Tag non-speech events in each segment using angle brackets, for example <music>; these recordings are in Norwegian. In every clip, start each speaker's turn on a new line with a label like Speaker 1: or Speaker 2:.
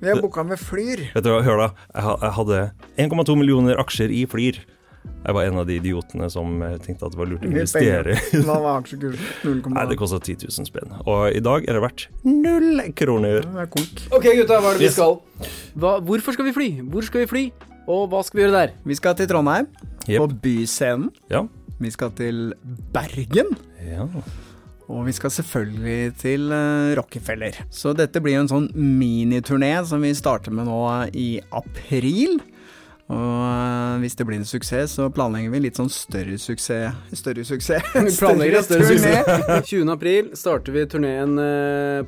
Speaker 1: Vi har booka med Flyr.
Speaker 2: Vet du hva, hør da. Jeg ha- Jeg hadde 1,2 millioner aksjer i Flyr. Jeg var en av de idiotene som eh, tenkte at det var lurt å
Speaker 1: Mye penger.
Speaker 2: investere.
Speaker 1: Hva var aksjekursen?
Speaker 2: <laughs> Nei,
Speaker 1: 0,1.
Speaker 2: det kosta 10 000 spenn. Og i dag er det verdt null kroner.
Speaker 1: Det er konk.
Speaker 3: Ok, gutta, hva er det vi
Speaker 2: Yes.
Speaker 3: skal? Hva, hvorfor skal vi fly? Hvor skal vi fly? Og hva skal vi gjøre
Speaker 2: <laughs>
Speaker 3: der?
Speaker 1: Vi skal til Trondheim,
Speaker 2: Jep.
Speaker 1: på Byscenen.
Speaker 2: Ja.
Speaker 1: Vi skal til Bergen.
Speaker 2: ja.
Speaker 1: Og vi skal selvfølgelig til eh, Rockefeller. Så dette blir jo en sånn miniturné som vi starter med nå i april. Og eh, hvis det blir en suksess, så planlegger vi litt sånn større suksess Større
Speaker 3: <laughs>
Speaker 1: suksess?
Speaker 3: Vi planlegger en større
Speaker 1: turné.
Speaker 3: suksess. 20. april starter vi turneen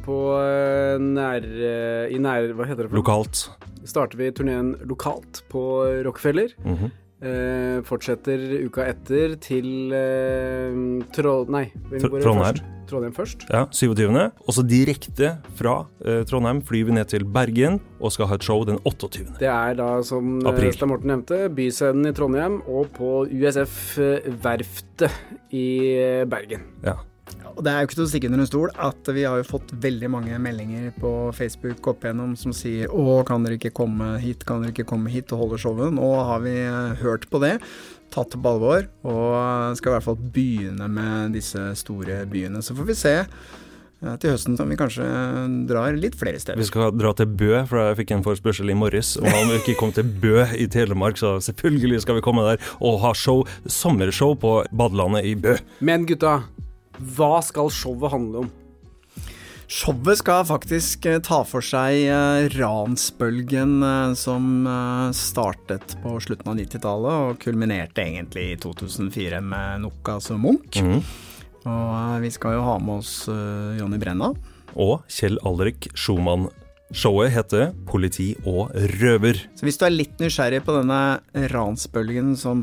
Speaker 3: på eh, nær... eh, I nær... Hva heter det? for noe?
Speaker 2: Lokalt.
Speaker 3: Starter vi turneen lokalt på Rockefeller.
Speaker 2: Mhm.
Speaker 3: Eh, fortsetter uka etter til eh, Troll... Nei. vi
Speaker 2: Tr-
Speaker 3: går
Speaker 2: Trondheim.
Speaker 3: Først. Trondheim først.
Speaker 2: Ja, 27. Og så direkte fra eh, Trondheim flyr vi ned til Bergen og skal ha et show den 28.
Speaker 3: Det er da, som
Speaker 2: April.
Speaker 3: eh, Stein Morten nevnte, Byscenen i Trondheim og på USF eh, Verftet i eh, Bergen.
Speaker 2: Ja.
Speaker 1: Og det er jo ikke til å stikke under en stol at vi har jo fått veldig mange meldinger på Facebook opp igjennom som sier å, kan dere ikke komme hit, kan dere ikke komme hit og holde showet? Nå har vi eh, hørt på det, tatt det på alvor, og eh, skal i hvert fall begynne med disse store byene. Så får vi se eh, til høsten om vi kanskje drar litt flere
Speaker 2: Vi
Speaker 1: steder.
Speaker 2: skal dra til Bø, for jeg fikk en forespørsel i morges om han ikke kom til Bø i Telemark, så selvfølgelig skal vi komme der og ha show, sommershow på badelandet i Bø.
Speaker 3: Men gutta, hva skal showet handle om?
Speaker 1: Showet skal faktisk eh, ta for seg eh, ransbølgen eh, som eh, startet på slutten av 90-tallet og kulminerte egentlig i 2004 med Nokas og Munch.
Speaker 2: Mhm.
Speaker 1: Og eh, vi skal jo ha med oss eh, Jonny Brenna.
Speaker 2: Og Kjell Alrik Schumann. Showet heter Politi og røver.
Speaker 1: Så hvis du er litt nysgjerrig på denne ransbølgen som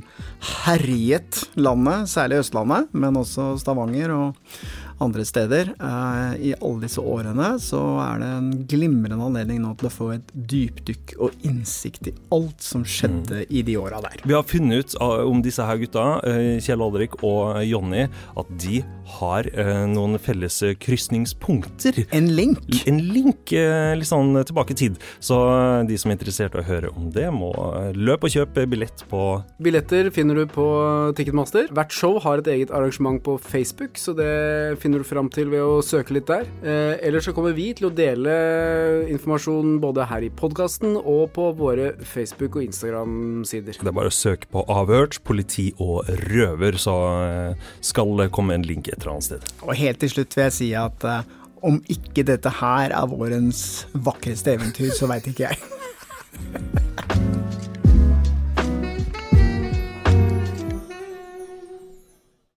Speaker 1: herjet landet, særlig Østlandet, men også Stavanger og andre steder, eh, i alle disse årene, så er det en glimrende anledning nå til å få et dypdykk og innsikt i alt som skjedde i de åra der.
Speaker 2: Vi har funnet ut eh, om disse her gutta, eh, Kjell Alrik og Jonny, at de har eh, noen felles eh, krysningspunkter.
Speaker 1: En link.
Speaker 2: En link eh, litt sånn tilbake i tid. Så eh, de som er interessert i å høre om det, må eh, løpe og kjøpe billett på
Speaker 3: Billetter finner du på Ticketmaster. Hvert show har et eget arrangement på Facebook, så det finner du fram til ved å søke litt der. Eh, ellers så kommer vi til å dele informasjon både her i podkasten og på våre Facebook- og Instagram-sider.
Speaker 2: Det er bare å søke på avhørt, politi og røver, så eh, skal det komme en link et eller annet sted.
Speaker 1: Og helt til slutt vil jeg si at eh, om ikke dette her er vårens vakreste eventyr, så veit ikke jeg.